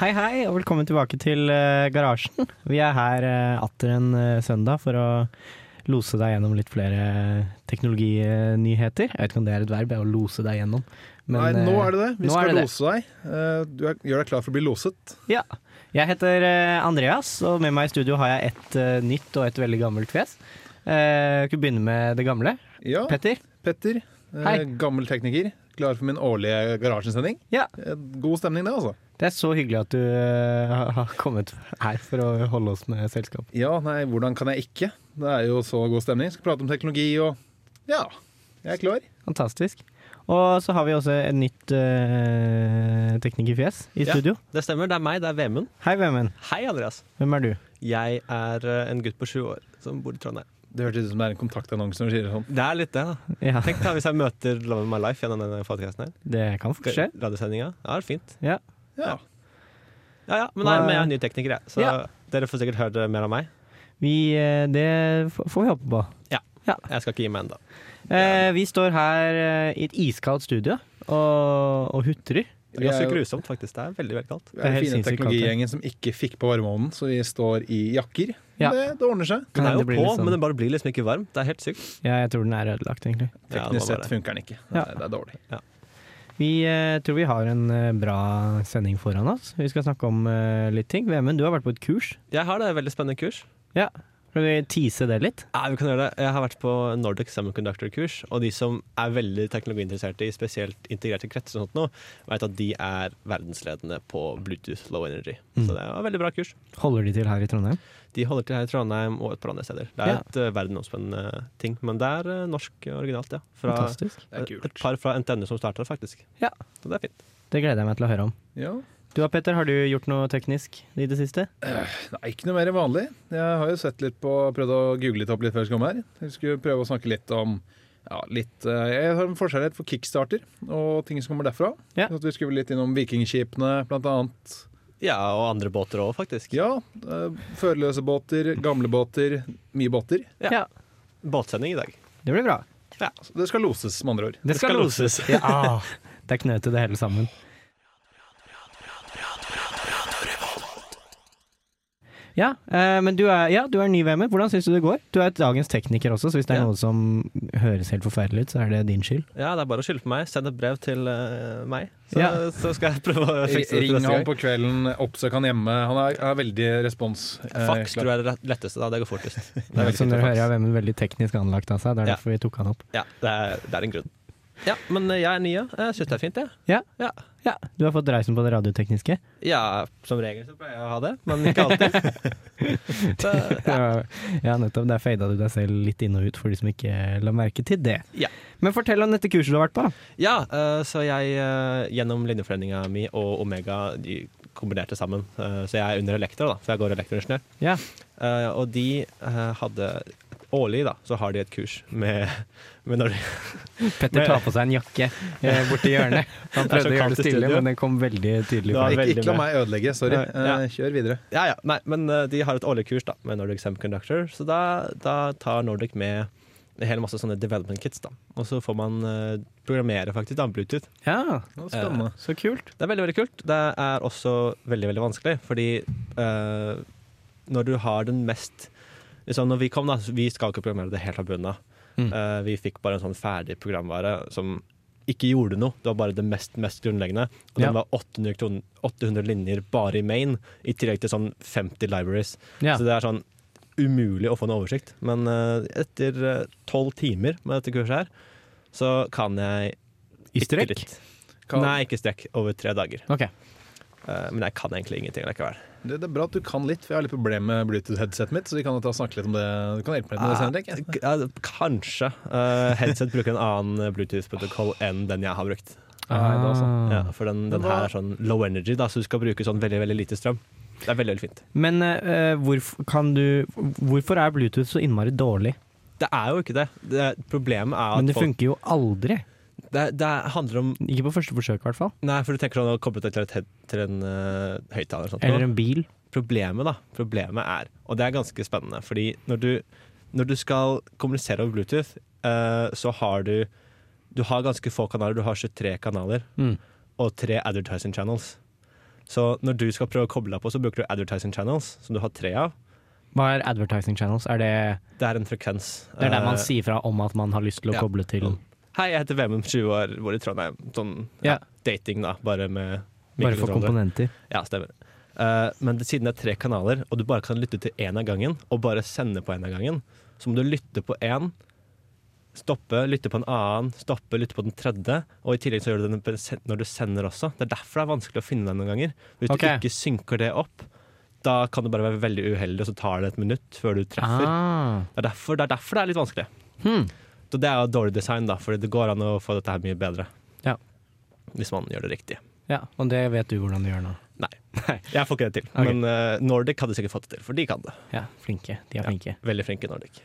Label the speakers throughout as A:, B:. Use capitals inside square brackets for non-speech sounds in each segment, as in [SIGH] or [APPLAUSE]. A: Hei, hei, og velkommen tilbake til eh, garasjen. Vi er her eh, atter en eh, søndag for å lose deg gjennom litt flere eh, teknologinyheter. Jeg vet ikke om det er et verb, det er å lose deg gjennom.
B: Nei, nå er det det.
A: eh,
B: Vi
A: nå er
B: skal
A: det det.
B: lose deg. Eh, Du er, gjør deg klar for å bli loset.
A: Ja. Jeg heter eh, Andreas, og med meg i studio har jeg et eh, nytt og et veldig gammelt fjes. Eh, Skal vi begynne med det gamle?
B: Ja,
A: Petter?
B: Petter. eh,
A: Hei.
B: Gammel tekniker. Klar for min årlige garasjesending.
A: Ja.
B: Eh, God stemning, det, altså.
A: Det er så hyggelig at du eh, har- har kommet her for å holde oss med selskap.
B: Ja, nei, hvordan kan jeg ikke? Det er jo så god stemning. Skal prate om teknologi og Ja, jeg er klar.
A: Fantastisk. Og så har vi også et nytt eh, teknikerfjes i
C: Ja.
A: studio.
C: Det stemmer, det er meg, det er Vemund.
A: Hei, Vemund.
C: Hei, Andreas.
A: Hvem er du?
C: Jeg er eh, en gutt på sju år som bor i Trondheim.
B: Det hørtes ut som det er en kontaktannonse når du sier det sånn.
C: Det er litt det, da.
A: Ja,
C: Tenk da hvis jeg møter Love of My Life gjennom denne podcasten her.
A: det kan fort skje.
C: Radiosendinga. Ja, det er fint.
A: Ja.
B: Ja.
C: Ja ja, men, nei, men jeg er ny tekniker, jeg. Så
A: Ja.
C: dere får sikkert høre mer av meg.
A: Vi, eh, det f- får vi håpe på.
C: Jeg skal ikke gi meg ennå.
A: Eh, vi står her eh, i et iskaldt studio og, og hutrer.
C: Det er ganske
B: Vi er jo-
C: grusomt, faktisk. Det er veldig, veldig kaldt.
B: Vi er
A: helt
B: den fine
A: sinnssykt kaldt,
B: teknologigjengen som ikke fikk på varmeovnen, så vi står i jakker.
A: Ja.
B: Det, det ordner seg.
A: Kan
C: Den er
A: hende
C: jo
A: det blir
C: på,
A: litt sånn-
C: men den bare blir liksom ikke varm. Det er helt sykt.
A: Ja, jeg tror den er ødelagt, egentlig.
C: Ja,
B: Teknisk
C: det var
B: sett
C: bare-
B: funker den ikke.
A: Ja.
B: Det, er- det er dårlig.
A: Vi eh, tror vi har en eh, bra sending foran oss. Vi skal snakke om eh, litt ting. Vemund, du har vært på et kurs.
C: Jeg har det veldig spennende kurs.
A: Ja. Skal vi tease det litt?
C: Ja, vi kan gjøre det. Jeg har vært på Nordic Semiconductor-kurs, og de som er veldig teknologiinteresserte i spesielt integrerte kretser, og sånt nå, vet at de er verdensledende på Bluetooth low energy.
A: Mm.
C: Så det var et veldig bra kurs.
A: Holder de til her i Trondheim?
C: De holder til her i Trondheim og et par andre steder. Det er
A: Ja.
C: et eh, verdensomspennende ting, men det er eh, norsk originalt, ja. Fra
A: Fantastisk.
B: Det er
C: et,
B: kult.
C: et par fra NTNU som starta det, faktisk.
A: Ja.
C: Så det er fint.
A: Det gleder jeg meg til å høre om.
B: Ja.
A: Du da, Petter, har du gjort noe teknisk i det siste?
B: Nei, ikke noe mer enn vanlig. Jeg har jo sett litt på, prøvd å google litt opp litt før jeg kom her. Jeg skulle prøve å snakke litt om ja, litt, eh, Jeg har en forskjellighet for kickstarter og ting som kommer derfra.
A: Ja.
B: Så At vi skulle litt innom vikingskipene, blant annet.
C: Ja, og andre båter òg, faktisk.
B: Ja, eh, førerløse båter, gamle båter, mye båter.
C: Ja. Båtsending i dag.
A: Det blir bra.
B: Så Altså, det skal loses, med andre ord.
A: Det skal loses. Ja. ah, Det er knøtet det hele sammen. Ja, eh, men du er, ja, du er ny VM-er. Hvordan syns du det går? Du er dagens tekniker også, så hvis det er
C: Ja.
A: noe som høres helt forferdelig ut, så er det din skyld.
C: Ja, det er bare å skylde på meg. Send et brev til eh, meg, så,
A: Ja.
C: så skal jeg prøve å fikse det til
B: Ring
C: neste
B: han
C: gang.
B: på kvelden, oppsøk han hjemme. Han er, er veldig respons. eh,
C: Fax
B: klar.
C: tror jeg er det letteste, da. Det går fortest. Det
A: Det
C: er,
A: er
C: veldig
A: som
C: fint
A: dere
C: med
A: hører,
C: fax.
A: er VM-en veldig teknisk anlagt av seg. Det er
C: Ja.
A: derfor vi tok han opp.
C: [LAUGHS] ja, det, er, det er en grunn. Ja, men eh, jeg er ny, ja. Jeg syns det er fint, jeg.
A: Ja.
C: Ja.
A: ja. Du har fått reisen på det
C: [LAUGHS]
A: radiotekniske.
C: ja, som regel så pleier jeg å ha det, men ikke [LAUGHS] alltid. Så,
A: Ja. ja, nettopp. Der fada du deg selv litt inn og ut for de som ikke la merke til det.
C: Ja.
A: Men fortell om dette kurset du har vært på.
C: ja, eh, så jeg eh, gjennom linjeforeninga mi og Omega de kombinerte sammen. Eh, Så jeg er under elektra, da, for jeg går elektroingeniør.
A: Ja.
C: Eh, og de eh, hadde Årlig da, så har de et kurs med, med når,
A: Petter tar på seg en jakke eh, borti hjørnet. Han
C: [LAUGHS] Det er
A: prøvde
C: så
A: å gjøre
C: kaldt
A: det
C: i
A: stille,
C: studio.
A: men den kom veldig tydelig
C: Ja,
A: fram.
B: Ikke, ikke
C: veldig
B: la meg ødelegge, sorry.
C: Nei, ja.
B: Eh, Kjør videre.
C: Ja, ja. Nei, men eh, de har et årlig kurs da, med Nordic Semiconductor, så da, da tar Nordic med en hel masse sånne development kits. da. Og så får man eh, programmere faktisk da, Bluetooth.
A: Ja,
B: Det
C: Eh,
B: var Spennende.
A: så kult.
C: Det er veldig veldig kult. Det er også veldig veldig vanskelig, fordi eh, når du har den mest liksom Når vi kom, da, så vi skal ikke programmere det helt fra bunnen av.
A: Mm.
C: Eh, vi fikk bare en sånn ferdig programvare som ikke gjorde noe. Det var bare det mest, mest grunnleggende. Og
A: Ja.
C: den var 800, kron- 800 linjer bare i main, i tillegg til sånn 50 libraries.
A: Ja.
C: Så det er sånn umulig å få en oversikt. Men eh, etter tolv timer med dette kurset her, så kan jeg
A: I strekk?
C: bitte litt.
B: Kan-
C: Nei, ikke strekk. Over tre dager.
A: Ok.
C: Eh, men jeg kan egentlig ingenting likevel.
B: Det, det er bra at du kan litt, for jeg har litt problemer med Bluetooth-headsetet mitt. Så vi kan jo ta og snakke litt om det. Du kan hjelpe meg litt med det senere. tenker jeg.
C: Eh, ja, kanskje. Eh, headset bruker en annen eh, Bluetooth-protokoll enn den jeg har brukt.
B: Nei,
A: Ah.
B: da så.
C: Ja, for den, den her er sånn low energy, da, så du skal bruke sånn veldig veldig lite strøm. Det er veldig veldig fint.
A: Men eh, hvorfor, kan du, hvorfor er Bluetooth så innmari dårlig?
C: Det er jo ikke det. det problemet er at
A: Men det
C: folk
A: funker jo aldri.
C: det, det handler om
A: Ikke på første forsøk, i hvert fall.
C: Nei, for du tenker sånn å koble det til, et, head- til en eh, høyttaler eller sånt.
A: Eller en bil.
C: problemet, da, problemet er, og det er ganske spennende, fordi når du, når du skal kommunisere over Bluetooth, eh, så har du Du har ganske få kanaler. Du har 23 kanaler
A: Mm.
C: og tre advertising channels. Så når du skal prøve å koble deg på, så bruker du advertising channels, som du har tre av.
A: Hva er advertising channels? Er det,
C: Det er en frekvens.
A: det er der man
C: Eh,
A: sier fra om at man har lyst til å
C: ja.
A: koble til
C: Hei, jeg heter Vemund, 20 år, bor i Trondheim. Sånn
A: Ja.
C: ja. dating, da, bare med
A: Bare for
C: mikrofonholder.
A: komponenter.
C: Ja, stemmer. Eh, men det, siden det er tre kanaler, og du bare kan lytte til én av gangen, og bare sende på én av gangen, så må du lytte på én, stoppe, lytte på en annen, stoppe, lytte på den tredje, og i tillegg så gjør du det når- når du sender også. Det er derfor det er vanskelig å finne deg noen ganger. Hvis
A: Ok.
C: du ikke synker det opp, da kan du bare være veldig uheldig, og så tar det et minutt før du treffer.
A: Ah.
C: Det, er derfor, det er derfor det er litt vanskelig.
A: Hmm.
C: Så det er jo dårlig design, da, fordi det går an å få dette her mye bedre.
A: Ja.
C: Hvis man gjør det riktig.
A: Ja, og det vet du hvordan du gjør nå.
C: Jeg får ikke det til,
A: Ok.
C: men eh, Nordic hadde sikkert fått det til, for de kan det.
A: Ja, flinke. De er
C: Ja.
A: flinke.
C: Veldig flinke i Nordic.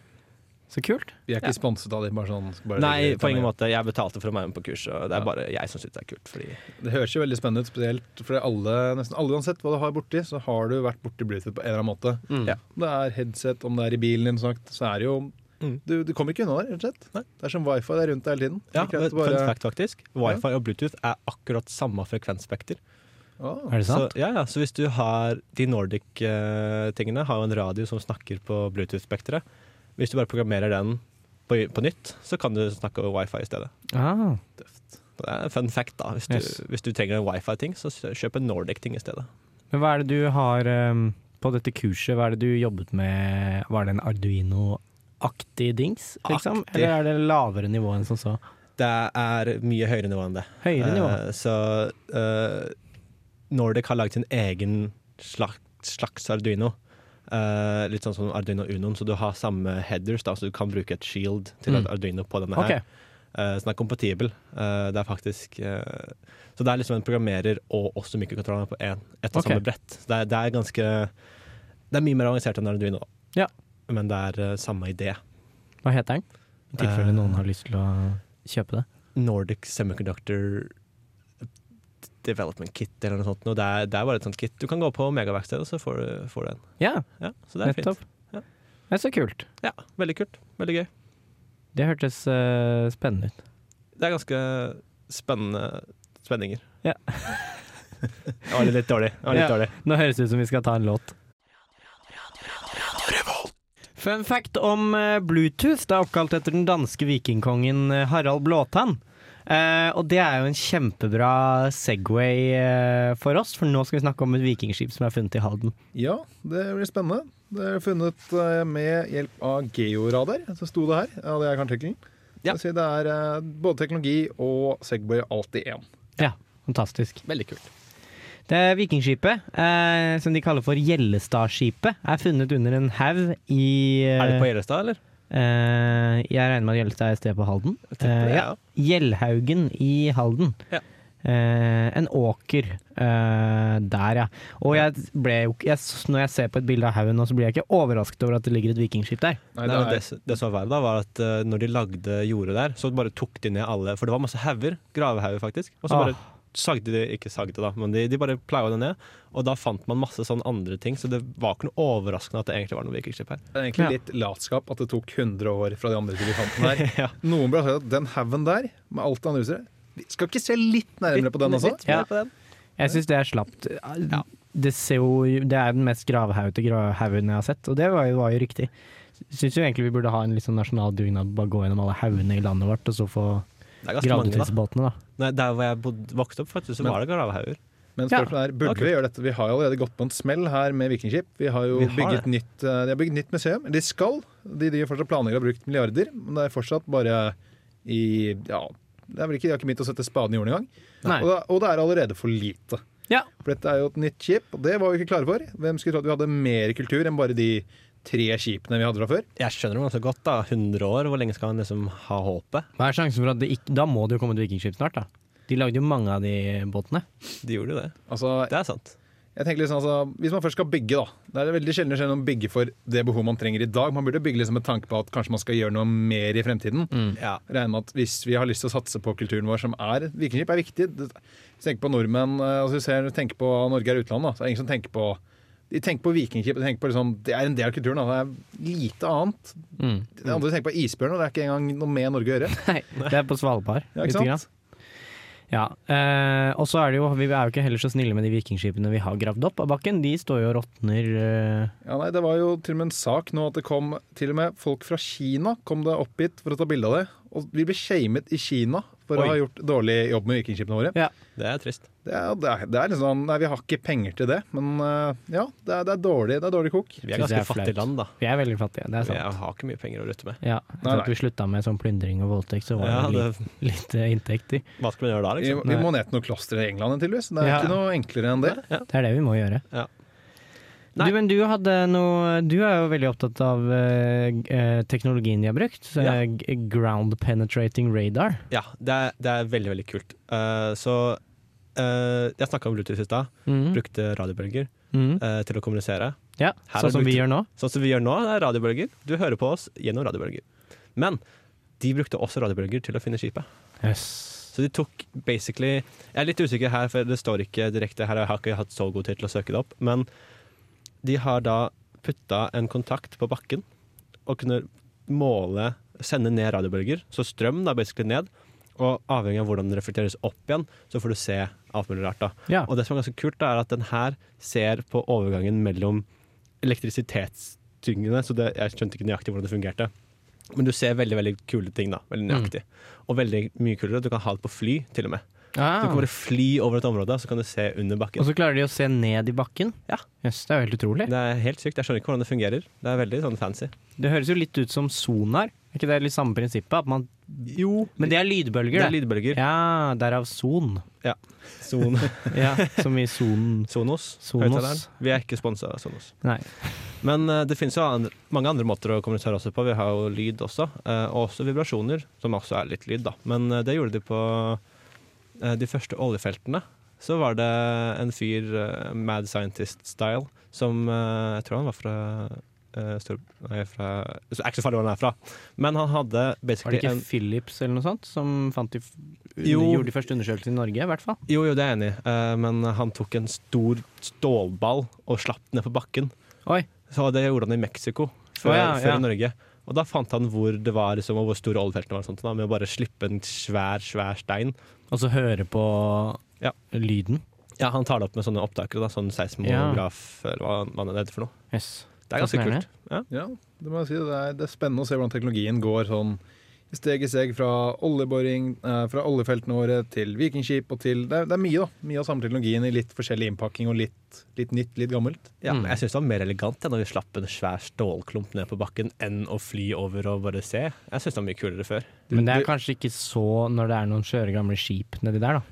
A: Så kult.
B: Vi er
C: Ja.
B: ikke sponset av dem. Bare sånn, skal bare legge
C: Nei,
B: det ut
C: på
B: av
C: ingen
B: meg.
C: måte. Jeg betalte for å være med på kurs, og det
B: Ja.
C: er bare jeg som syns det er kult. Fordi
B: Det høres jo veldig spennende ut, spesielt fordi alle, nesten alle uansett hva du har borti, så har du vært borti Bluetooth på en eller annen måte.
C: Ja.
B: Om det er headset, om det er i bilen din, som sagt, så er det jo
C: Mm.
B: du, du kommer ikke unna det, rett og slett. Det er som wifi det er rundt deg hele tiden.
C: ja,
B: Ikke at du
C: Fun
B: bare-
C: fact, faktisk. Wifi og Bluetooth er akkurat samme frekvensspekter.
B: Ah,
A: Er det
C: Så,
A: sant?
C: ja, ja, så hvis du har de Nordic-tingene, har jo en radio som snakker på Bluetooth-spekteret. Hvis du bare programmerer den på, på nytt, så kan du snakke over wifi i stedet.
A: Ah.
C: Det er en fun fact, da. Hvis du,
A: Yes.
C: hvis du trenger en wifi-ting, så kjøp en Nordic-ting i stedet.
A: Men hva er det du har ehm, på dette kurset, hva er det du jobbet med? Var det en Arduino-aktig dings, liksom?
C: Aktig.
A: Eller er det lavere nivå enn som så?
C: Det er mye høyere nivå enn det.
A: Høyere nivå?
C: Eh, så eh, Nordic har laget sin egen slags, slags Arduino. Eh, litt sånn som Arduino Unoen, så du har samme headers, da, så du kan bruke et shield til
A: Mm.
C: et Arduino på denne
A: ok.
C: her. Eh, så den er kompatibel. Eh, det er faktisk eh, Så det er liksom en programmerer og også mikrokontroller på én, ett og
A: Ok.
C: samme brett. Så det er, det er ganske Det er mye mer avansert enn Arduino,
A: Ja.
C: men det er eh, samme idé.
A: Hva heter den? I tilfelle
C: Eh.
A: noen har lyst til å kjøpe det.
C: Nordic Semiconductor Development Kit eller noe sånt. Og det, er, det er bare et sånt kit. Du kan gå på megaverkstedet, så får du, får du en.
A: Ja,
C: Ja, så det er
A: nettopp.
C: Ja.
A: Det er så kult.
C: fint. Ja, veldig kult. Veldig gøy.
A: Det hørtes eh, spennende ut.
C: Det er ganske spennende spenninger. [LAUGHS]
A: Ja.
C: det var litt dårlig. Det var litt
A: Ja.
C: dårlig.
A: Nå høres det ut som vi skal ta en låt. Fun fact om eh, Bluetooth. Det er oppkalt etter den danske vikingkongen eh, Harald Blåtann. Eh, og det er jo en kjempebra Segway eh, for oss, for nå skal vi snakke om et vikingskip som er funnet i Halden.
B: Ja, det blir spennende. Det er funnet eh, med hjelp av georadar, så sto det her. Ja, det er kanskje artikkelen.
C: Ja.
B: Det vil si Det er eh, både teknologi og Segway alt i én.
A: Ja, fantastisk.
C: Veldig kult.
A: Det er Vikingskipet, eh, som de kaller for Gjellestadskipet, er funnet under en haug i eh,
C: Er det på Gjellestad, eller?
A: eh, Jeg regner med at Gjellestad er et sted på Halden.
C: Jeg tipper
A: Eh,
C: det,
A: ja. Gjellhaugen i Halden.
C: Ja.
A: Eh, en åker eh, der, ja. Og jeg ble jo ikke jeg, s- Når jeg ser på et bilde av haugen nå, så blir jeg ikke overrasket over at det ligger et vikingskip der.
B: Nei,
C: Nei,
B: det
C: men det,
B: er,
C: det som var verre, da, var at eh, når de lagde jordet der, så bare tok de ned alle For det var masse hauger. Gravehauger, faktisk. Og så
A: Ah.
C: bare sagde de Ikke sagde, da, men de, de bare plaua det ned. Og da fant man masse sånn andre ting, så det var ikke noe overraskende at det egentlig var noe vikingskip her.
B: det er egentlig
A: Ja.
B: litt latskap at det tok 100 år fra de andre til vi fant den
C: [LAUGHS]
B: her.
C: ja.
B: Noen burde ha sagt at den haugen der, med alt det andre utstyret vi Skal ikke se litt nærmere på den også?
C: Litt mer
A: Ja.
C: på den.
A: Jeg syns det er slapt. Det, ser jo, det er den mest gravhaugete gra- haugen jeg har sett, og det var jo, var jo riktig. Syns jo egentlig vi burde ha en litt sånn nasjonal dugnad, bare gå gjennom alle haugene i landet vårt, og så få
C: Det er ganske
A: gravd ut
C: mange, da.
A: disse båtene, da.
C: Nei, der hvor jeg bodde, vokste opp, faktisk, så
B: Men-
C: var det gravehauger.
A: Ja.
B: Men spørsmålet er, burde
C: Ok.
B: vi gjøre dette? Vi har jo allerede gått på en smell her med vikingskip. Vi har jo
C: Vi har
B: bygget
C: det.
B: nytt, eh, de har bygget nytt museum. De skal. De driver fortsatt planlegger og har brukt milliarder, men det er fortsatt bare i Ja, det er vel ikke, de har ikke begynt å sette spaden i jorden engang.
A: Nei.
B: Og, det- og det er allerede for lite.
A: Ja.
B: For dette er jo et nytt skip, og det var vi ikke klare for. Hvem skulle tro at vi hadde mer kultur enn bare de tre skipene vi hadde fra før?
C: Jeg skjønner det ganske godt, da. 100 år, hvor lenge skal han liksom ha håpet?
A: Hva er sjansen for at det ikke Da må det jo komme et vikingskip snart, da. De lagde jo mange av de båtene.
C: De gjorde jo det.
B: Altså,
C: Det er sant.
B: jeg tenker liksom, altså, Hvis man først skal bygge, da. Det er det veldig sjelden det skjer noen bygge for det behovet man trenger i dag. Man burde bygge liksom med tanke på at kanskje man skal gjøre noe mer i fremtiden.
C: Ja.
B: regner med at hvis vi har lyst til å satse på kulturen vår, som er vikingskip, er viktig. Det- Hvis du tenker på nordmenn, eh, altså hvis du ser- tenker på Norge er utlandet, da, så er det ingen som tenker på de tenker på vikingskip, de tenker på liksom, det er en del av kulturen. Da. Det er lite annet. Det
A: [LAUGHS]
B: andre de tenker på er isbjørn, og det er ikke engang noe med Norge å gjøre.
A: Nei, det er på Svalbard.
B: Ja,
A: lite
B: ikke sant?
A: grann. Ja, eh, og så er det jo, vi er jo ikke heller så snille med de vikingskipene vi har gravd opp av bakken. De står jo og råtner. eh.
B: Ja, nei, Det var jo til og med en sak nå at det kom til og med folk fra Kina kom det opp hit for å ta bilde av det. Og vi ble shamet i Kina for
C: Oi.
B: å ha gjort dårlig jobb med vikingskipene våre.
C: Det er trist.
B: Det er, det, er, det er litt sånn Nei, vi har ikke penger til det, men eh, ja, det er, det er dårlig det er dårlig kok.
C: Vi
A: Synes
C: er
A: jeg
C: ganske
A: er flaut.
C: fattige land, da.
A: Vi er veldig fattige, det er
C: Vi
A: sant.
C: har ikke mye penger å rutte med.
A: Ja, etter
B: Nei,
A: at vi slutta med sånn plyndring og voldtekt, så var det
C: Ja, det,
A: jo litt, litt eh, inntekter.
C: hva skal man gjøre da,
B: Vi,
C: liksom?
B: vi må ned til noe kloster i England, tydeligvis. Det er
A: Ja.
B: ikke noe enklere enn det.
C: Ja.
A: Det er det vi må gjøre.
C: Ja.
A: Du,
C: Nei.
A: men du, hadde noe, du er jo veldig opptatt av eh, g- eh, teknologien de har brukt. så,
C: Ja.
A: eh, g- Ground penetrating radar.
C: Ja, det er, det er veldig, veldig kult. Eh, så eh, Jeg snakka om Bluetooth i stad.
A: Mhm.
C: Brukte radiobølger
A: Mhm.
C: eh, til å kommunisere.
A: Ja,
C: Her
A: sånn
C: har
A: som
C: brukt-
A: vi gjør nå.
C: Sånn som vi gjør nå, det er radiobølger. Du hører på oss gjennom radiobølger. Men de brukte også radiobølger til å finne skipet.
A: Yes.
C: Så de tok basically Jeg er litt usikker her, for det står ikke direkte her. og Jeg har ikke hatt så god tid til å søke det opp. Men de har da putta en kontakt på bakken og kunne måle Sende ned radiobølger. Så strøm da basically ned. Og avhengig av hvordan den reflekteres opp igjen, så får du se alt mulig rart. da.
A: Ja.
C: Og det som er ganske kult, da, er at den her ser på overgangen mellom elektrisitetstyngene, så det, jeg skjønte ikke nøyaktig hvordan det fungerte. Men du ser veldig veldig kule ting, da. Veldig
A: Mm.
C: nøyaktig. Og veldig mye kulere. Du kan ha det på fly, til og med. Så du
A: Ah. Altså,
C: kan bare fly over et område, så kan du se under
A: Og
C: bakken.
A: så klarer de å se ned i bakken.
C: Ja.
A: Yes, det er jo helt utrolig.
C: Det er helt sykt. Jeg skjønner ikke hvordan det fungerer. Det er veldig sånn fancy.
A: Det høres jo litt ut som sonar. Er ikke det litt samme prinsippet? At man,
C: Jo,
A: men det er lydbølger,
C: det er
A: det.
C: lydbølger.
A: Ja, derav son.
C: Son
A: Ja, [LAUGHS] som i sonen.
C: Sonos.
A: Sonos.
C: høyttaleren. Vi er ikke sponsa av Sonos.
A: Nei.
C: Men eh, det finnes jo andre, mange andre måter å kommunisere også på. Vi har jo lyd også, eh, og også vibrasjoner, som også er litt lyd, da. Men eh, det gjorde de på eh, de første oljefeltene. Så var det en fyr, eh, mad scientist-style, som eh, jeg tror han var fra eh, Stor... Nei, fra Det er ikke så farlig hvor han er fra, men han hadde
A: Var det
C: basically
A: ikke
C: en
A: Philips eller noe sånt som fant de, f-
C: Jo.
A: gjorde de første undersøkelsene i Norge, i hvert fall?
C: Jo, jo, det er jeg enig i, eh, men han tok en stor stålball og slapp den ned på bakken.
A: Oi.
C: Så det gjorde han i Mexico, før,
A: Å, ja,
C: før
A: ja.
C: i Norge. Og da fant han hvor det var liksom, og hvor store oljefeltene var, og sånt, da, med å bare slippe en svær svær stein.
A: Og så høre på
C: Ja.
A: lyden.
C: Ja, Han tar det opp med sånne opptakere, da, sånn seismograf, eller hva, hva det heter for noe.
A: Yes.
C: Det er ganske
A: Fascinerende.
C: kult. Ja.
B: Ja, det må jeg si. Det er, det er spennende å se hvordan teknologien går sånn i steg i steg fra oljeboring, eh, fra oljefeltene våre til vikingskip og til Det er, det er mye, da. Mye av samme teknologien i litt forskjellig innpakking og litt, litt nytt, litt gammelt.
C: Ja,
A: Mm.
C: men Jeg syns det var mer elegant ja, når vi slapp en svær stålklump ned på bakken, enn å fly over og bare se. Jeg syns det var mye kulere før.
A: Men det er kanskje ikke så når det er noen skjøre gamle skip nedi der, da.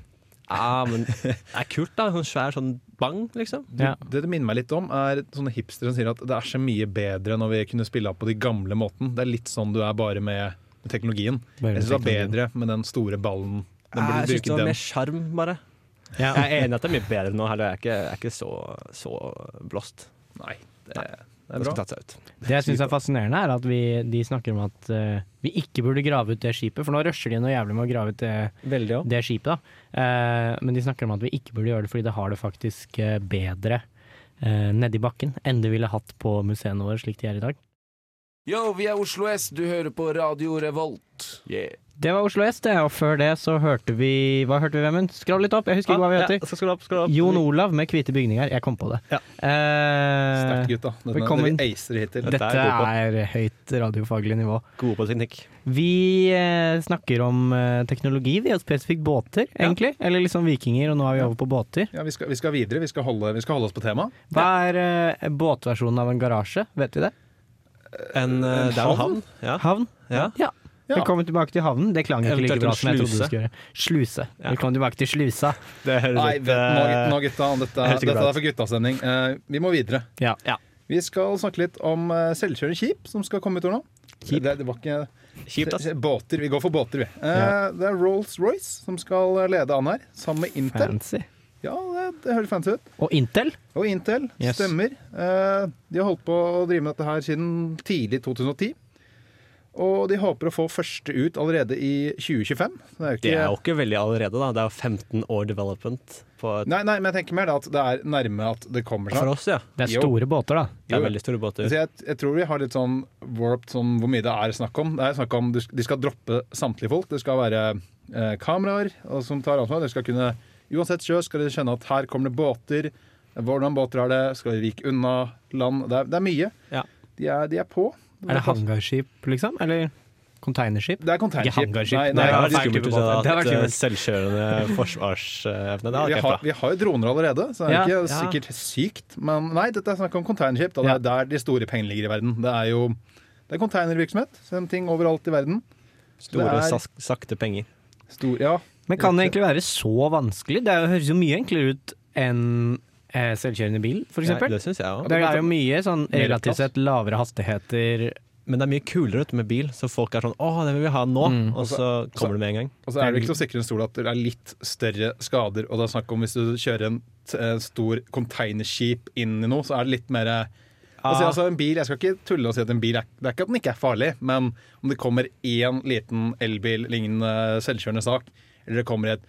C: Ja, Ah, men Det er kult, da. Sånn svær sånn bang, liksom.
A: Ja.
B: Det det minner meg litt om, er sånne hipstere som sier at det er så mye bedre når vi kunne spille av på de gamle måten. Det er litt sånn du er bare med, med teknologien.
A: Bare
B: Jeg syns det var
A: teknologien.
B: bedre med den store ballen. Den
C: Ja,
B: burde
C: jeg syns det
B: bruke
C: var
B: den.
C: mer sjarm, bare.
A: Ja.
C: Jeg er enig i at det er mye bedre nå. Heller. Jeg er ikke, jeg er ikke så, så blåst.
B: Nei,
C: Det,
B: det
C: det
B: er
C: skulle
B: bra.
C: tatt seg ut.
A: Det jeg syns er fascinerende, er at vi, de snakker om at eh, vi ikke burde grave ut det skipet, for nå rusher de noe jævlig med å grave ut det,
C: Veldig òg.
A: det skipet, da. Eh, men de snakker om at vi ikke burde gjøre det fordi det har det faktisk eh, bedre uh, nedi bakken enn det ville hatt på museene våre slik de er i dag.
D: Yo, vi er Oslo S, du hører på Radio Revolt. Yeah.
A: Det var Oslo S, det, og før det så hørte vi Hva hørte vi, Vemund? Skroll litt opp, jeg husker ikke hva vi heter.
C: Ja, skal du opp, skal du opp.
A: Jon Olav med hvite bygninger. Jeg kom på det.
C: Ja.
A: Eh,
B: Sterkt, gutta. Dette,
A: velkommen.
B: dere acer hittil.
A: dette
C: Dette er god på.
A: er høyt radiofaglig nivå.
C: Gode på teknikk.
A: Vi eh, snakker om eh, teknologi, vi, og spesifikt båter, egentlig. Eller liksom vikinger, og nå er vi over på båter.
B: Ja, vi skal, vi skal videre. Vi skal holde, vi skal holde oss på temaet.
A: Hva er eh, båtversjonen av en garasje? Vet vi det?
C: En, eh, det er jo havn. Ja.
A: Havn?
C: Ja.
B: Ja.
A: Velkommen tilbake til havnen. Det klang ikke like
C: Eventuelt
A: bra
C: en
A: som jeg trodde
C: sluse.
A: det skulle gjøre. Sluse.
C: Ja.
A: Velkommen tilbake til slusa.
C: Det høres
B: Nei,
C: litt,
B: vet, nå,
C: eh,
B: nå gutta, dette,
C: helt sikkert
B: dette
C: bra.
B: er for guttastemning. Eh, vi må videre.
A: Ja.
B: Vi skal snakke litt om eh, selvkjørende skip som skal komme ut nå.
A: Skip?
B: Det, det var ikke
C: Kjipt, ass.
B: Båter. Vi går for båter, vi. Eh,
A: Ja.
B: Det er Rolls-Royce som skal lede an her, sammen med Intel.
A: Fancy.
B: Ja, det, det høres fancy ut.
A: Og Intel?
B: Og Intel
A: Yes.
B: stemmer. Eh, de har holdt på å drive med dette her siden tidlig 2010. Og de håper å få første ut allerede i 2025. Det er jo ikke,
C: Det er jo ikke veldig allerede, da. Det er jo 15 år development på et
B: Nei, nei, men jeg tenker mer da at det er nærme at det kommer snart.
C: For oss, ja.
A: Det er
B: Jo.
A: store båter, da.
C: Det er
B: Jo.
C: veldig store båter.
B: Så jeg, jeg tror vi har litt sånn warped sånn hvor mye det er snakk om. Det er snakk om du- De skal droppe samtlige folk. Det skal være eh, kameraer og som tar ansvar. Dere skal kunne, uansett sjø skal dere skjønne at her kommer det båter. Hvordan båter er det? Skal dere vike unna land? Det er, det er mye.
A: Ja.
B: De, er, de er på.
A: Er det hangarskip, liksom? Eller containerskip?
B: Det er containerskip.
A: Ikke hangarskip.
B: Nei,
C: Nei,
B: nei,
C: det
A: har vært
C: hadde vært
A: skummelt
C: skummelt
A: Det
C: hvis jeg hadde
A: hadde vært
C: hatt eh, selvkjørende forsvarsevne. Det
B: vi,
C: hadde
B: har,
C: vært bra.
B: vi har jo droner allerede, så det er
A: Ja,
B: ikke
A: ja.
B: sikkert sykt. Men nei, dette er snakk om containerskip. Da. Det er der de store pengene ligger i verden. Det er jo det er containervirksomhet. Sånne ting overalt i verden.
C: Store,
B: det er-
C: sak- sakte penger.
B: Stor, ja.
A: Men kan det egentlig være så vanskelig? Det er jo- høres jo mye enklere ut enn eh, selvkjørende bil, for
C: Ja,
A: eksempel.
C: det syns jeg òg.
A: Det er jo mye sånn
B: Mer
A: relativt
B: plass.
A: sett lavere hastigheter
C: Men det er mye kulere ut med bil, så folk er sånn 'Å, det vil vi ha nå',
A: Mm.
C: og så kommer det med en gang.
B: Og så Altså, er det ikke så sikkert en stol at det er litt større skader. Og det er snakk om hvis du kjører en t eh, stor containerskip inn i noe, så er det litt mer eh, altså, altså en bil, Jeg skal ikke tulle og si at en bil er, det er ikke at den ikke er farlig, men om det kommer én liten elbil-lignende selvkjørende sak, eller det kommer et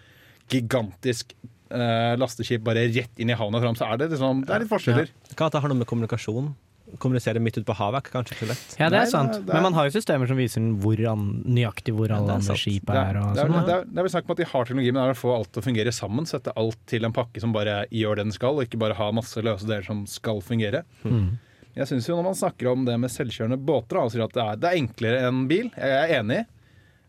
B: gigantisk eh, lasteskip bare rett inn i havna fram, så er det liksom, det er litt forskjeller.
C: Det Kan at det har noe med kommunikasjon Kommunisere midt ute på havet er ikke kanskje ikke så lett.
A: Ja, det
B: Nei,
A: er
B: det er-
A: sant.
B: det er-
A: Men man har jo systemer som viser hvor an, nøyaktig hvor
C: det
A: alle
C: er
A: andre
C: sant.
A: skip
B: Det er,
A: er. og
B: det, er,
A: sånn.
B: det, er, det er vel snakk om at de har teknologi, men det er å få alt til å fungere sammen. Sette alt til en pakke som bare gjør det den skal, og ikke bare ha masse løse deler som skal fungere.
C: Mm.
B: Jeg synes jo Når man snakker om det med selvkjørende båter, da, og sier at det er, det er enklere enn bil, jeg er enig i.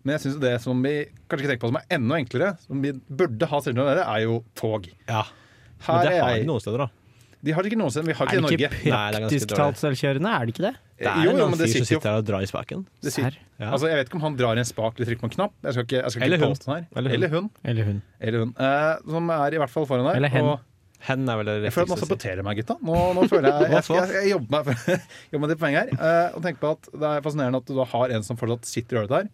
B: Men jeg synes jo det som vi kanskje ikke tenker på som er enda enklere, som vi burde ha selvkjørende, deler, er jo tog.
C: Ja. Men
B: Her
C: det
B: er
C: har vi
B: jeg.
C: noen steder, da.
B: De har det ikke noen steder. Vi har
A: Er
B: ikke det i
A: det
B: Norge.
A: ikke
C: Nei, det er ganske
A: praktisk talt selvkjørende? Er det ikke det?
C: Det
B: jo,
C: er
B: jo,
C: noen
B: men det
C: fyr som
B: sitter jo
C: sitter der og drar i spaken.
B: det sitter,
A: Serr?
C: Ja.
B: altså, Jeg vet ikke om han drar i en spak eller trykker på en knapp. Jeg skal ikke, jeg skal
C: Eller
B: ikke
C: hun.
B: påstå her.
C: Eller hun.
B: Eller hun.
A: Eller hun.
B: Eller hun. Eh, som er i hvert fall foran her.
A: Eller hen.
B: Og
C: Hen er vel det
B: Jeg føler at nå
C: riktigste å si.
B: saboterer jeg meg, gutta. Nå, nå føler
A: [LAUGHS]
B: jeg Jeg, skal, jeg, jeg jobber meg for, [LAUGHS] jobber med det poenget her. eh, og tenker på at Det er fascinerende at du da har en som fortsatt sitter i øret der.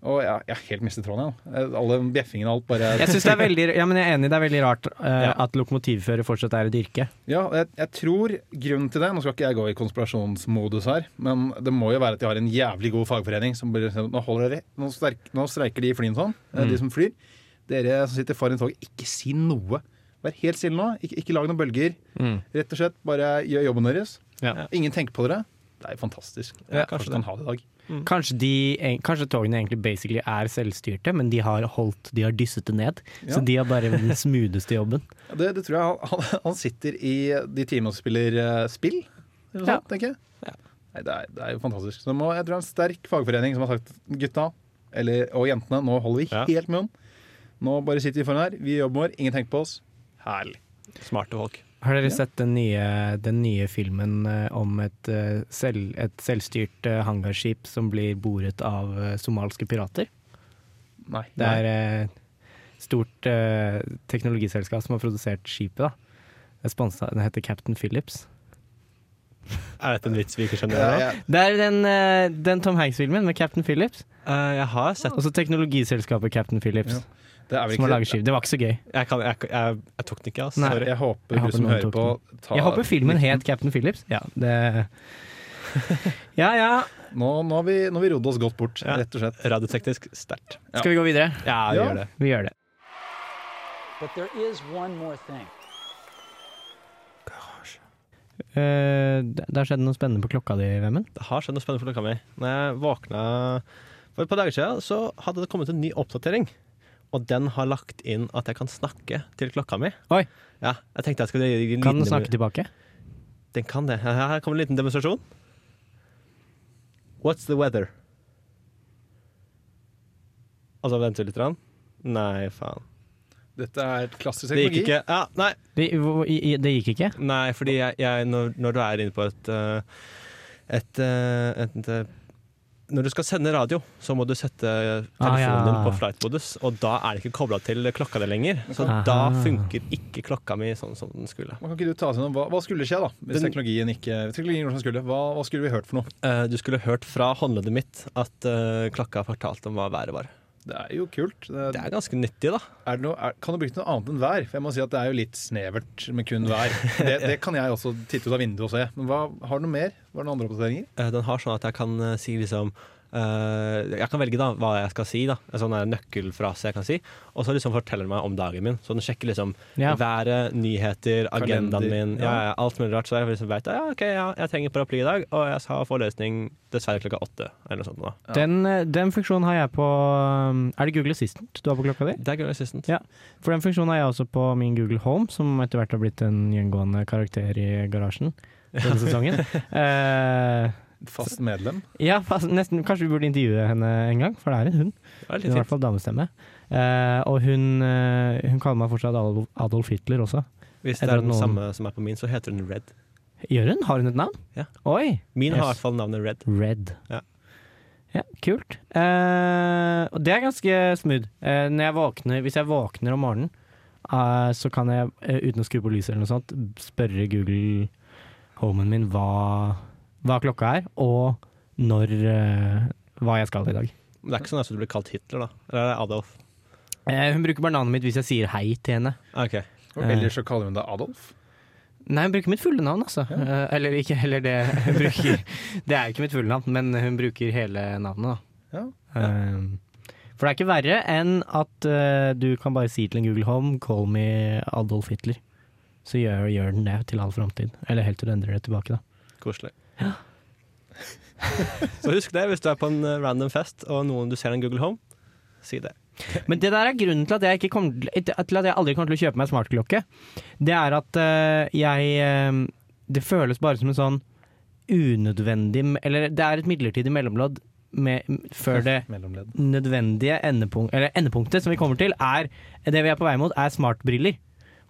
B: Og jeg, jeg har helt mistet tråden, jeg. nå. Eh, Alle bjeffingene og alt bare
A: Jeg synes det er veldig, ja, men jeg er enig, det er veldig rart eh,
C: Ja.
A: at lokomotivfører fortsatt er et yrke.
B: Ja, og jeg, jeg tror grunnen til det Nå skal ikke jeg gå i konspirasjonsmodus her, men det må jo være at de har en jævlig god fagforening som bare sier nå, holder dere, nå, sterk, nå streiker de i flyene sånn, eh, de som flyr. Dere som sitter foran toget, ikke si noe. Vær helt stille nå. Ikke, ikke lag noen bølger. Rett og slett bare gjør jobben deres.
A: Ja.
B: Ingen tenker på dere. Det er jo fantastisk.
C: Ja,
B: Jeg kanskje
C: kanskje
B: kan ha det i dag.
C: Mm.
A: Kanskje, de, en- kanskje togene egentlig basically er selvstyrte, men de har holdt, de har dysset det ned.
B: Ja.
A: Så de har bare den smootheste jobben.
B: Ja, Det, det tror jeg. Han- Han, han sitter i de timene og spiller eh, spill, eller noe
A: Ja.
B: sånt, tenker jeg.
C: Ja.
B: Nei, det, er, det er jo fantastisk. Så det må, jeg tror det er en sterk fagforening som har sagt gutta eller, og jentene, nå holder vi
C: Ja.
B: helt munn. Nå bare sitter vi foran her, vi gjør jobben vår, ingen tenker på oss. Herlig.
C: Smarte folk.
A: Har dere
B: Ja.
A: sett den nye, den nye filmen eh, om et, eh, selv, et selvstyrt eh, hangarskip som blir boret av eh, somalske pirater?
B: Nei.
A: Det er et stort eh, teknologiselskap som har produsert skipet. da. Det er sponset, den heter Captain Phillips.
C: Er dette en vits vi ikke skjønner?
B: Ja,
C: nå?
B: ja.
A: Det er den, eh, den Tom Hanks-filmen med Captain Phillips,
C: Eh, jeg har sett
A: og så teknologiselskapet Captain Phillips.
B: Ja, det er vel
A: Som har laget
B: ikke
A: skip. Det var ikke så gøy.
C: Jeg, kan, jeg, jeg, jeg tok den ikke, altså.
A: Nei.
B: Sorry,
C: Sorry.
B: Jeg håper
A: Jeg håper
B: du som
A: noen
B: hører
A: tok
B: på ta,
A: Jeg håper filmen het Captain Phillips. Ja,
B: [LAUGHS]
A: det Ja ja.
B: Nå, nå har vi, nå har vi rodd oss godt bort,
C: Ja.
B: rett og slett.
C: Radioteknisk sterkt.
B: Ja.
A: Skal vi gå videre?
C: Ja, vi
B: Ja.
C: gjør det.
A: Vi gjør det.
E: But there is one more thing.
A: Eh, det det har skjedd noe spennende på klokka di, Vemmen.
C: Det har skjedd noe spennende for klokka mi. Når jeg våkna for et par dager siden, så hadde det kommet en ny oppdatering. Og den har lagt inn at jeg kan snakke til klokka mi.
A: Oi.
C: Ja, jeg tenkte jeg skulle gi en liten
A: Kan den
C: demo-
A: snakke tilbake?
C: Den kan det. Her- Her kommer en liten demonstrasjon. What's the weather? Og så venter vi Altså, litt. grann. Nei, faen.
B: Dette er klassisk
C: Det
B: teknologi.
C: gikk ikke. Ja, nei,
A: Det, hvor- i- i- det gikk ikke?
C: Nei, fordi jeg, jeg, når, når du er inne på et eh, et, eh, et eh, Når du skal sende radio, så må du sette telefonen
A: Ah, ja.
C: din på flight-modus, og da er det ikke kobla til klokka di lenger. Så
A: Aha.
C: da funker ikke klokka mi sånn som den skulle.
B: Men Kan ikke du ta oss gjennom hva, hva skulle skje da, hvis
C: Den-
B: teknologien ikke hvis teknologien gjorde som skulle? Hva, hva skulle vi hørt for noe?
C: Eh, du skulle hørt fra håndleddet mitt at eh, klokka fortalte om hva været var.
B: Det er jo kult. Det,
C: Det er ganske nyttig, da.
B: er det noe, er, kan du bruke noe annet enn vær? For jeg må si at det er jo litt snevert med kun [LAUGHS] vær. Det, det kan jeg også titte ut av vinduet og se. Men hva, har du noe mer? Var det noen andre oppdateringer?
C: Eh, den har sånn at jeg kan eh, si liksom eh, Jeg kan velge da hva jeg skal si. da En sånn der nøkkelfrase jeg kan si. Og så liksom forteller den meg om dagen min. Så den sjekker liksom
A: Ja.
C: været, nyheter, agendaen
B: Kalender,
C: min. Ja, ja, alt mulig rart. Så jeg liksom vet ja, ok, ja, jeg trenger paraply i dag, og jeg har forelesning dessverre klokka åtte. Eller noe sånt. Da.
A: Den, eh, den funksjonen har jeg på um, Er det Google Assistant du har på klokka di?
C: Det er Girl Assistant.
A: Ja. For den funksjonen har jeg også på min Google Home, som etter hvert har blitt en gjengående karakter i garasjen denne
C: [LAUGHS]
A: sesongen. Eh,
B: Fast medlem.
A: ja, fast, nesten, kanskje vi burde intervjue henne en gang, for det er en hund.
C: Det
A: Hun
C: er litt
A: har i
C: fint.
A: hvert fall damestemme. Eh, og hun, eh, hun kaller meg fortsatt Adolf, Adolf Hitler også.
C: Hvis
A: Jeg
C: det er
A: tror
C: den
A: noen-
C: samme som er på min, så heter den Red.
A: Gjør hun? Har hun et navn?
C: Ja.
A: Oi!
C: Min har i
A: Yes.
C: hvert fall navnet Red.
A: Red.
C: Ja.
A: Ja, kult. Eh, og det er ganske smooth. Eh, når jeg våkner, hvis jeg våkner om morgenen, eh, så kan jeg, eh, uten å skru på lyset eller noe sånt, spørre Google Homen min hva, hva klokka er, og når eh, hva jeg skal i dag.
C: Men det er ikke sånn at du blir kalt Hitler, da. Eller er det Adolf?
A: Eh, hun bruker bare navnet mitt hvis jeg sier hei til henne.
C: Ah, ok.
B: Og
A: Eh.
B: ellers så kaller hun deg Adolf.
A: Nei, hun bruker mitt fulle navn, altså. Eh, eller ikke heller det [LAUGHS] hun bruker. Det er jo ikke mitt fulle navn, men hun bruker hele navnet, da.
B: Ja.
A: Eh, for det er ikke verre enn at eh, du kan bare si til en Google Home 'call me Adolf Hitler'. Så gjør, gjør den det til all framtid. Eller helt til du endrer det tilbake, da.
C: Koselig. [LAUGHS] så husk det hvis du er på en eh, random fest og noen du ser en Google Home. Si det.
A: Men det der er grunnen til at jeg, ikke kommer, til- til at jeg aldri kommer til å kjøpe meg smartklokke. Det er at eh, jeg eh, Det føles bare som en sånn unødvendig Eller det er et midlertidig mellomlodd med, før det
B: Mellomledd.
A: nødvendige endepunkt, eller endepunktet som vi kommer til, er det vi er på vei mot, er smartbriller.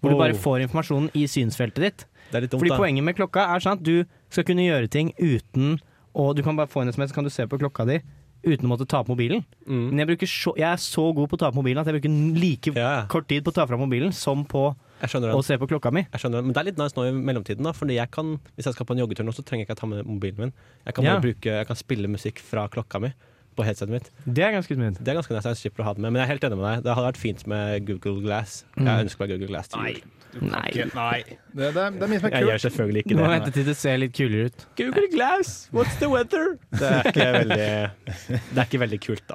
A: Hvor du bare
C: Oh.
A: får informasjonen i synsfeltet ditt.
C: Det er litt dumt,
A: Fordi
C: da.
A: poenget med klokka er sant, du skal kunne gjøre ting uten Og du kan bare få en SMS, så kan du se på klokka di uten å måtte ta på mobilen.
C: Mm.
A: Men jeg, bruker så, jeg er så god på å ta på mobilen at jeg bruker like
C: Ja, ja.
A: kort tid på å ta fram mobilen som på
C: Jeg skjønner
A: å
C: den.
A: se på klokka mi.
C: Jeg skjønner den. Men det er litt nice nå i mellomtiden, da. Fordi jeg kan, hvis jeg skal på en joggetur nå, så trenger jeg ikke å ta med mobilen min. Jeg kan, bare
A: Ja.
C: bruke, jeg kan spille musikk fra klokka mi på headsetet mitt.
A: Det er ganske smooth.
C: Det er ganske nice. Jeg slipper å ha den med. Men jeg er helt enig med deg. Det hadde vært fint med Google Glass. Jeg ønsker meg Google Glass til jul.
A: Nei.
B: Det, det, er- det er mye som er
C: Jeg gjør
B: kult.
C: selvfølgelig
A: Du
C: ikke
A: må
C: det.
A: vente til det ser litt kulere ut.
C: Google Glass, what's the weather? Det er ikke veldig, [LAUGHS] det er ikke veldig kult, da.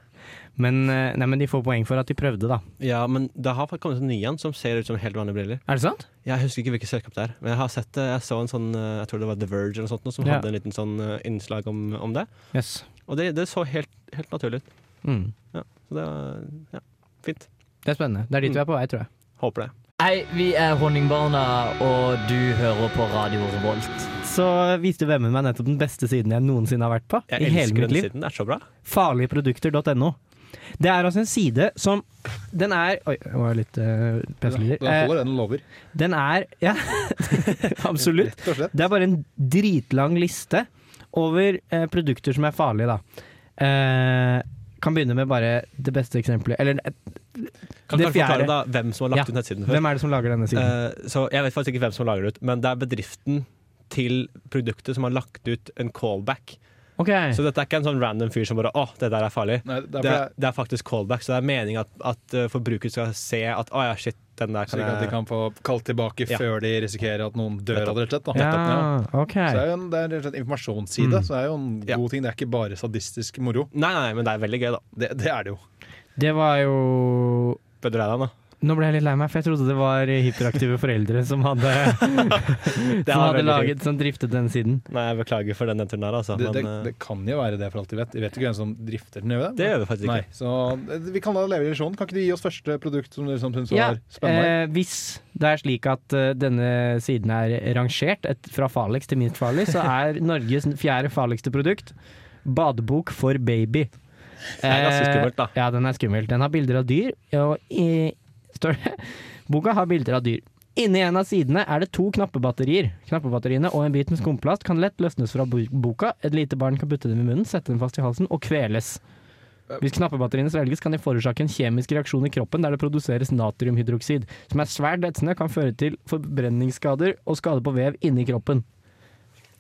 A: Men, eh, nei, men de får poeng for at de prøvde, da.
C: Ja, men det har faktisk kommet en ny en som ser ut som helt vanlige briller.
A: Er det sant?
C: Jeg husker ikke hvilket selskap det er, men jeg har sett det. Jeg så en sånn, eh, jeg tror det var The Verge eller noe sånt, nå, som
A: Ja.
C: hadde en liten sånn eh, innslag om, om det.
A: Jøss. Yes.
C: Og det, det så helt, helt naturlig ut.
A: Mm.
C: Så det var ja, fint.
A: Det er spennende. Det er dit vi er på vei, tror jeg.
C: Håper det.
F: Hei, vi er Honningbarna, og du hører på Radio Revolt.
A: så viste Vemmen meg nettopp den beste siden jeg noensinne har vært på.
C: Jeg
A: I hele
C: elsker
A: mitt
C: den
A: liv.
C: siden. Det er så bra.
A: Farligeprodukter.no. Det er altså en side som Den er Oi, det var litt uh,
B: Den
A: pestelyder. Eh,
B: holder, den lover.
A: den er Ja, [LAUGHS] absolutt.
B: Rett og slett.
A: Det er bare en dritlang liste over eh, produkter som er farlige, da. Eh, kan begynne med bare det beste eksempelet. Eller eh,
C: Kan
A: Det
C: du forklare
A: fjerde.
C: da hvem som har lagt
A: Ja.
C: ut nettsiden før?
A: hvem er det som lager denne siden?
C: Eh, så jeg vet faktisk ikke hvem som lager det ut, men det er bedriften til produktet som har lagt ut en callback.
A: ok,
C: Så dette er ikke en sånn random fyr som bare Å, det der er farlig.
B: Nei, det er
C: Det
B: fordi
C: er, det er faktisk callback, så det er meningen at, at eh, forbruker skal se at å ja, shit, den der
B: jeg-
C: kan
B: slik at de
C: jeg
B: kan få kalt tilbake
C: Ja.
B: før de risikerer at noen dør av det, rett og slett. Da.
A: ja, ok.
B: Så det er jo en, det er rett og slett informasjonsside,
A: Mm.
B: så det er jo en god
C: Ja.
B: ting. Det er ikke bare sadistisk moro.
C: Nei, nei, men det er veldig gøy, da.
B: Det, det er det jo.
A: Det var jo
C: Ble du lei deg nå?
A: Nå ble jeg litt lei meg, for jeg trodde det var hyperaktive foreldre som hadde,
C: Det
A: som
C: er
A: hadde
C: veldig
A: laget som driftet den siden.
C: fint. Nei, jeg beklager for den nedturen her, altså.
B: Det, det,
C: men eh,
B: det kan jo være det, for alt vi vet. Vi vet jo ikke hvem som drifter den, gjør vi det?
C: det gjør vi faktisk
B: Nei,
C: ikke.
B: så eh, vi kan la det leve i illusjonen. Kan ikke du gi oss første produkt som du liksom syns
A: Ja,
B: var spennende?
A: eh, hvis det er slik at eh, denne siden er rangert et, fra farligst til minst farlig, så er Norges fjerde farligste produkt badebok for baby. Eh,
C: Det er ganske skummelt, da.
A: Ja, den er skummel. Den har bilder av dyr, og i, står det Boka har bilder av dyr. Inni en av sidene er det to knappebatterier. Knappebatteriene og en bit med skumplast kan lett løsnes fra bo- boka. Et lite barn kan putte dem i munnen, sette dem fast i halsen og kveles. Hvis knappebatteriene svelges, kan de forårsake en kjemisk reaksjon i kroppen der det produseres natriumhydroksid, som er svært etsende og kan føre til forbrenningsskader og skade på vev inni kroppen.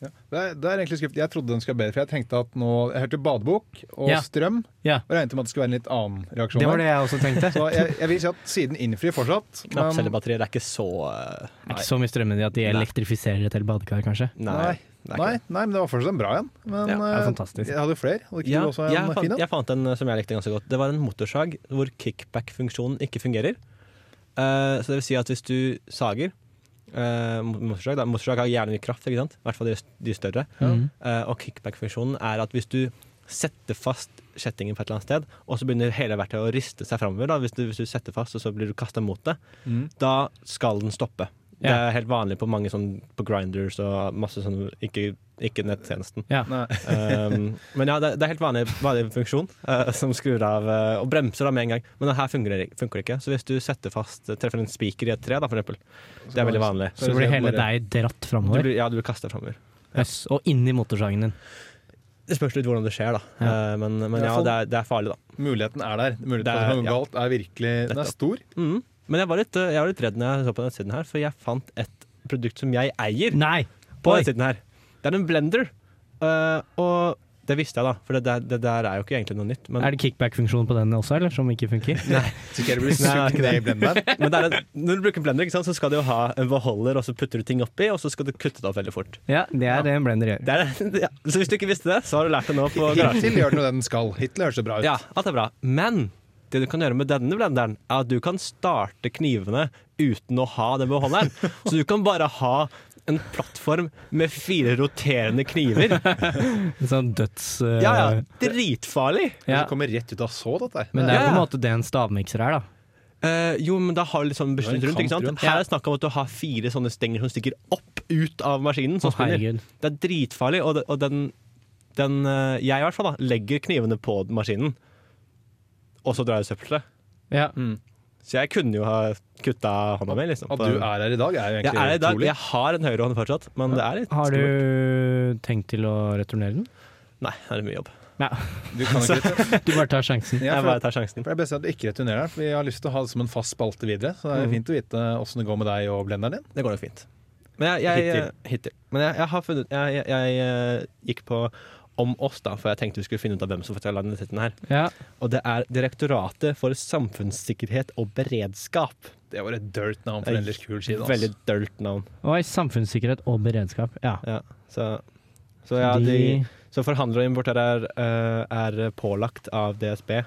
B: Det er, det er egentlig skuffende. Jeg trodde den skulle være bedre, for jeg tenkte at nå Jeg hørte badebok og
A: Ja.
B: strøm,
A: Ja.
B: og regnet med at det skulle være en litt annen reaksjon.
A: Det var
B: der.
A: det jeg også tenkte.
B: Så jeg, jeg vil si at siden innfrir fortsatt.
C: [LAUGHS]
B: Men
C: Knappcellebatterier er ikke så eh,
A: Det er ikke så mye strøm i det at de elektrifiserer et helt badekar, kanskje.
C: Nei.
B: Nei.
C: det er ikke
B: nei,
C: det.
B: nei, men det var fortsatt en bra en. Men
C: Ja, det
A: er
B: eh,
A: fantastisk.
B: jeg hadde flere. Hadde ikke
C: Ja,
B: du også en
C: jeg,
B: fin
C: fant,
B: en?
C: jeg fant en eh, som jeg likte ganske godt. Det var en motorsag hvor kickback-funksjonen ikke fungerer. Eh, så det vil si at hvis du sager eh, mo- motorsag, da, motorsag har gjerne mye kraft, ikke sant? i hvert fall de, de større.
A: Mhm.
C: Eh, og kickback-funksjonen er at hvis du setter fast kjettingen på et eller annet sted, og så begynner hele verktøyet å riste seg framover, da, hvis, du- hvis du setter fast og så blir du kasta mot det,
B: Mm.
C: da skal den stoppe. Det
A: Ja.
C: er helt vanlig på mange sånn på grinders og masse sånn ikke, ikke nettjenesten.
B: Nei.
C: Um, men ja, det, det er helt vanlig, vanlig funksjon eh, som skrur av eh, og bremser da med en gang. Men det her fungerer, ikke- funker det ikke. Så hvis du setter fast eh, treffer en spiker i et tre, da, for eksempel, det er veldig vanlig.
A: Så blir hele deg dratt
C: Du
A: framover.
C: blir, ja, du blir kasta framover.
A: Yes, og inn i motorsagen din.
C: Det spørs litt hvordan det skjer, da. Eh, men, men
B: Ja,
C: ja,
B: sånn.
C: det er, det er farlig, da.
B: Muligheten er der. Muligheten
C: Det
B: for
C: er-
B: at det kan
C: ja.
B: gå galt er virkelig Den
C: Nettopp.
B: er stor.
C: Mhm. Men jeg var, litt, eh, jeg var litt redd når jeg så på nettsiden her, for jeg fant et produkt som jeg eier.
A: Nei!
C: på
A: Oi.
C: nettsiden her. Det er en blender. Eh, og det visste jeg, da, for det der, det der er jo ikke egentlig noe nytt. Men
A: Er det kickback-funksjon på den også, eller? Som ikke funker?
B: Så ikke jeg blir
C: Nei, det er
B: sugd
C: ikke
B: ned i blenderen.
C: Men det er en, når du bruker blender, ikke sant, så skal du jo ha en beholder, og så putter du ting oppi, og så skal du kutte det opp veldig fort.
A: Ja, det er det en blender gjør.
C: Det er, [LAUGHS] ja. Så hvis du ikke visste det, så har du lært det nå på garasjen.
B: Hittil gjør den jo det den skal. Hittil høres det bra ut.
C: Ja, alt er bra. Men det du kan gjøre med denne blenderen, er at du kan starte knivene uten å ha den beholderen. Så du kan bare ha en plattform med fire roterende kniver.
A: En sånn døds... eh, [LAUGHS]
C: Ja, ja, dritfarlig!
B: Ja.
A: ja.
B: Det kommer rett ut av så, dette.
A: Men det er
C: Ja,
A: på en
C: ja.
A: måte det en stavmikser er, da.
C: Eh, jo, men da har du litt sånn
B: Det er en
C: beskytt rundt. ikke
B: kamp
C: sant?
B: rundt.
C: Her er det snakk om at du har fire sånne stenger som stikker opp ut av maskinen. Som
A: Å,
C: spinner.
A: herregud.
C: Det er dritfarlig, og, det- og den, den eh, Jeg i hvert fall da, legger knivene på maskinen, og så drar jeg søppelet.
A: Ja.
C: Så jeg kunne jo ha kutta hånda mi. liksom.
B: At
C: på-
B: du er her i dag, er jo
C: jeg,
B: egentlig
C: er i dag,
B: utrolig.
C: jeg har en høyrehånd fortsatt, men det er litt
A: Har
C: skummelt.
A: du tenkt til å returnere den?
C: Nei, det er mye jobb.
A: Nei,
B: Du kan ikke
A: [LAUGHS]
B: retur-
A: du bare tar sjansen.
C: [LAUGHS]
B: ja,
C: Jeg
B: for,
C: bare tar sjansen.
B: for det er best at du ikke returnerer den, for vi har lyst til å ha det som en fast spalte videre. Så det er fint å vite åssen det går med deg og blenderen din.
C: Det går nok fint. Men jeg, jeg,
B: Hittil.
C: hittil. Men jeg, jeg har funnet Jeg, jeg, jeg eh, gikk på om oss, da, for jeg tenkte vi skulle finne ut av hvem som forteller denne titten her.
A: Ja.
C: Og det er Direktoratet for samfunnssikkerhet og beredskap.
B: Det var et dirt navn for en ellers kul side. altså.
C: Veldig dølt navn.
A: Oi, samfunnssikkerhet og beredskap. Ja.
C: Ja. Så, så, ja, de, så forhandler og importører er, eh, er pålagt av DSB,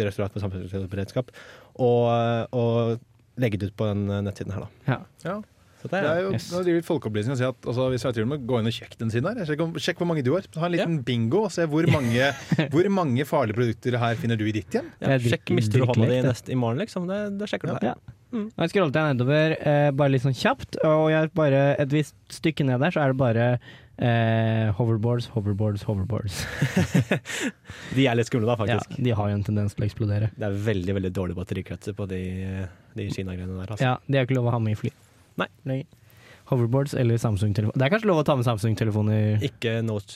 C: Direktoratet for samfunnssikkerhet og beredskap, og, og legge det ut på den eh, nettsiden her, da.
A: ja.
B: Ja.
C: Så det
B: Det er
C: er
B: jo
A: Yes.
B: nå driver vi folkeopplysning og sier at altså, hvis du må gå inn og sjekke den siden her. Sjekk, om, sjekk hvor mange du har. Ha en liten bingo og se hvor mange, hvor mange farlige produkter her finner du i ditt hjem.
C: ja,
A: det er
C: Sjekk
A: virkelig
C: mister du hånda di
A: ekte.
C: neste- i morgen, liksom. Det, det sjekker du der.
A: Ja. Nå scrollet jeg nedover eh, bare litt sånn kjapt, og jeg bare et visst stykke ned der, så er det bare eh, hoverboards, hoverboards, hoverboards.
C: De er litt skumle, da,
A: Ja,
C: faktisk.
A: de har jo en tendens til å eksplodere.
C: Det er veldig veldig dårlig batterikretser på de, de Kina-greiene der. Altså.
A: Ja, De er jo ikke lov å ha med i fly.
C: Nei.
A: Lenger. Hoverboards eller Samsung-telefon. Det er kanskje lov å ta med Samsung-telefoner?
C: Ikke Note 7.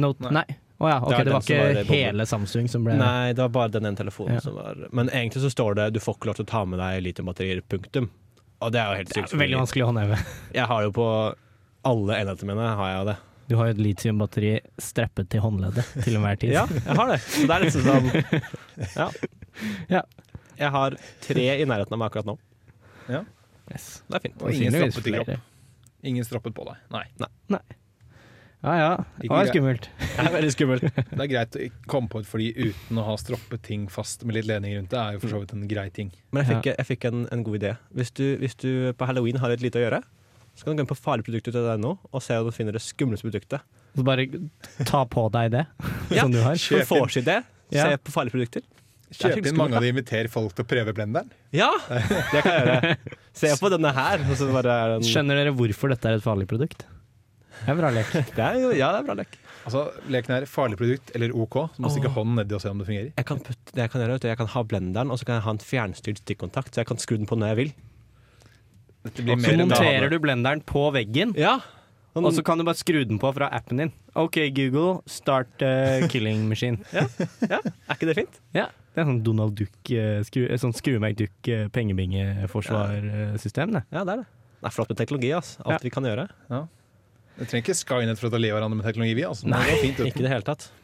A: Note Nei. Å ja, ok,
C: Det er
A: det
C: den
A: var
C: som var i
A: ikke
C: boblen.
A: hele Samsung som ble
C: Nei, det var bare den ene telefonen
A: Ja.
C: som var Men egentlig så står det du får ikke lov til å ta med deg litiumbatterier, punktum. Og det er jo helt
A: Det
C: sykt.
A: er veldig vanskelig å håndheve.
C: Jeg har jo på alle enhetene mine har jeg jo det.
A: Du har jo et litiumbatteri streppet til håndleddet til enhver tid.
C: Ja, jeg har det. Så det er liksom
A: [LAUGHS]
C: sånn Ja.
A: Ja.
C: Jeg har tre i nærheten av meg akkurat nå.
A: Yes.
C: Det er fint.
B: Og ingen
A: Sannsynligvis
B: strappet i
A: flere.
B: kropp. Ingen strappet på deg. Nei.
A: Ja ja. [LAUGHS] Det var
B: grei-
A: skummelt.
C: Det er veldig skummelt.
B: Det er greit å ikke komme på et fly uten å ha stroppet ting fast med litt ledning rundt. Det er jo for så vidt en grei ting.
C: Men jeg fikk, jeg fikk en, en god idé. Hvis du, hvis du på halloween har litt lite å gjøre, så kan du gå inn på farligprodukter.no og se om du finner det skumleste produktet.
A: Så bare ta på deg det
C: Ja.
A: som du har.
C: På vorsidé,
A: Ja.
C: se på farlige produkter. Det er
B: Kjøp
C: sikkert
B: inn mange av de, inviter folk til å prøve blenderen.
C: Ja, [LAUGHS] det kan jeg gjøre. Se på denne her. Og så bare er den,
A: Skjønner dere hvorfor dette er et farlig produkt? Det er bra lek.
C: det er, jo- ja, det er bra lek.
B: Altså, Leken er farlig produkt eller OK, så må du stikke hånden nedi og se om det fungerer.
C: Jeg kan, putte, det jeg kan gjøre, vet du, jeg kan ha blenderen og så kan jeg ha en fjernstyrt stikkontakt, så jeg kan skru den på når jeg vil.
B: Dette blir
A: Så
B: mer enn
A: monterer
B: dame.
A: du blenderen på veggen,
C: Ja,
B: sånn-
C: Sånn,
A: og så kan du bare skru den på fra appen din. OK, Google, start
B: [LAUGHS]
A: eh, killing machine.
C: Er ikke det fint?
A: Ja, det er sånn Donald Duck, eh, skru, eh, sånn skru meg duck eh, pengebingeforsvarsystem, det.
C: Ja, det er det. Det er flott med teknologi. ass. Alt
A: Ja.
C: vi kan gjøre.
B: Vi trenger ikke Skynet for at det lever av med teknologi, vi. Altså.
C: Nei,
B: det går fint,
C: ikke i det hele tatt.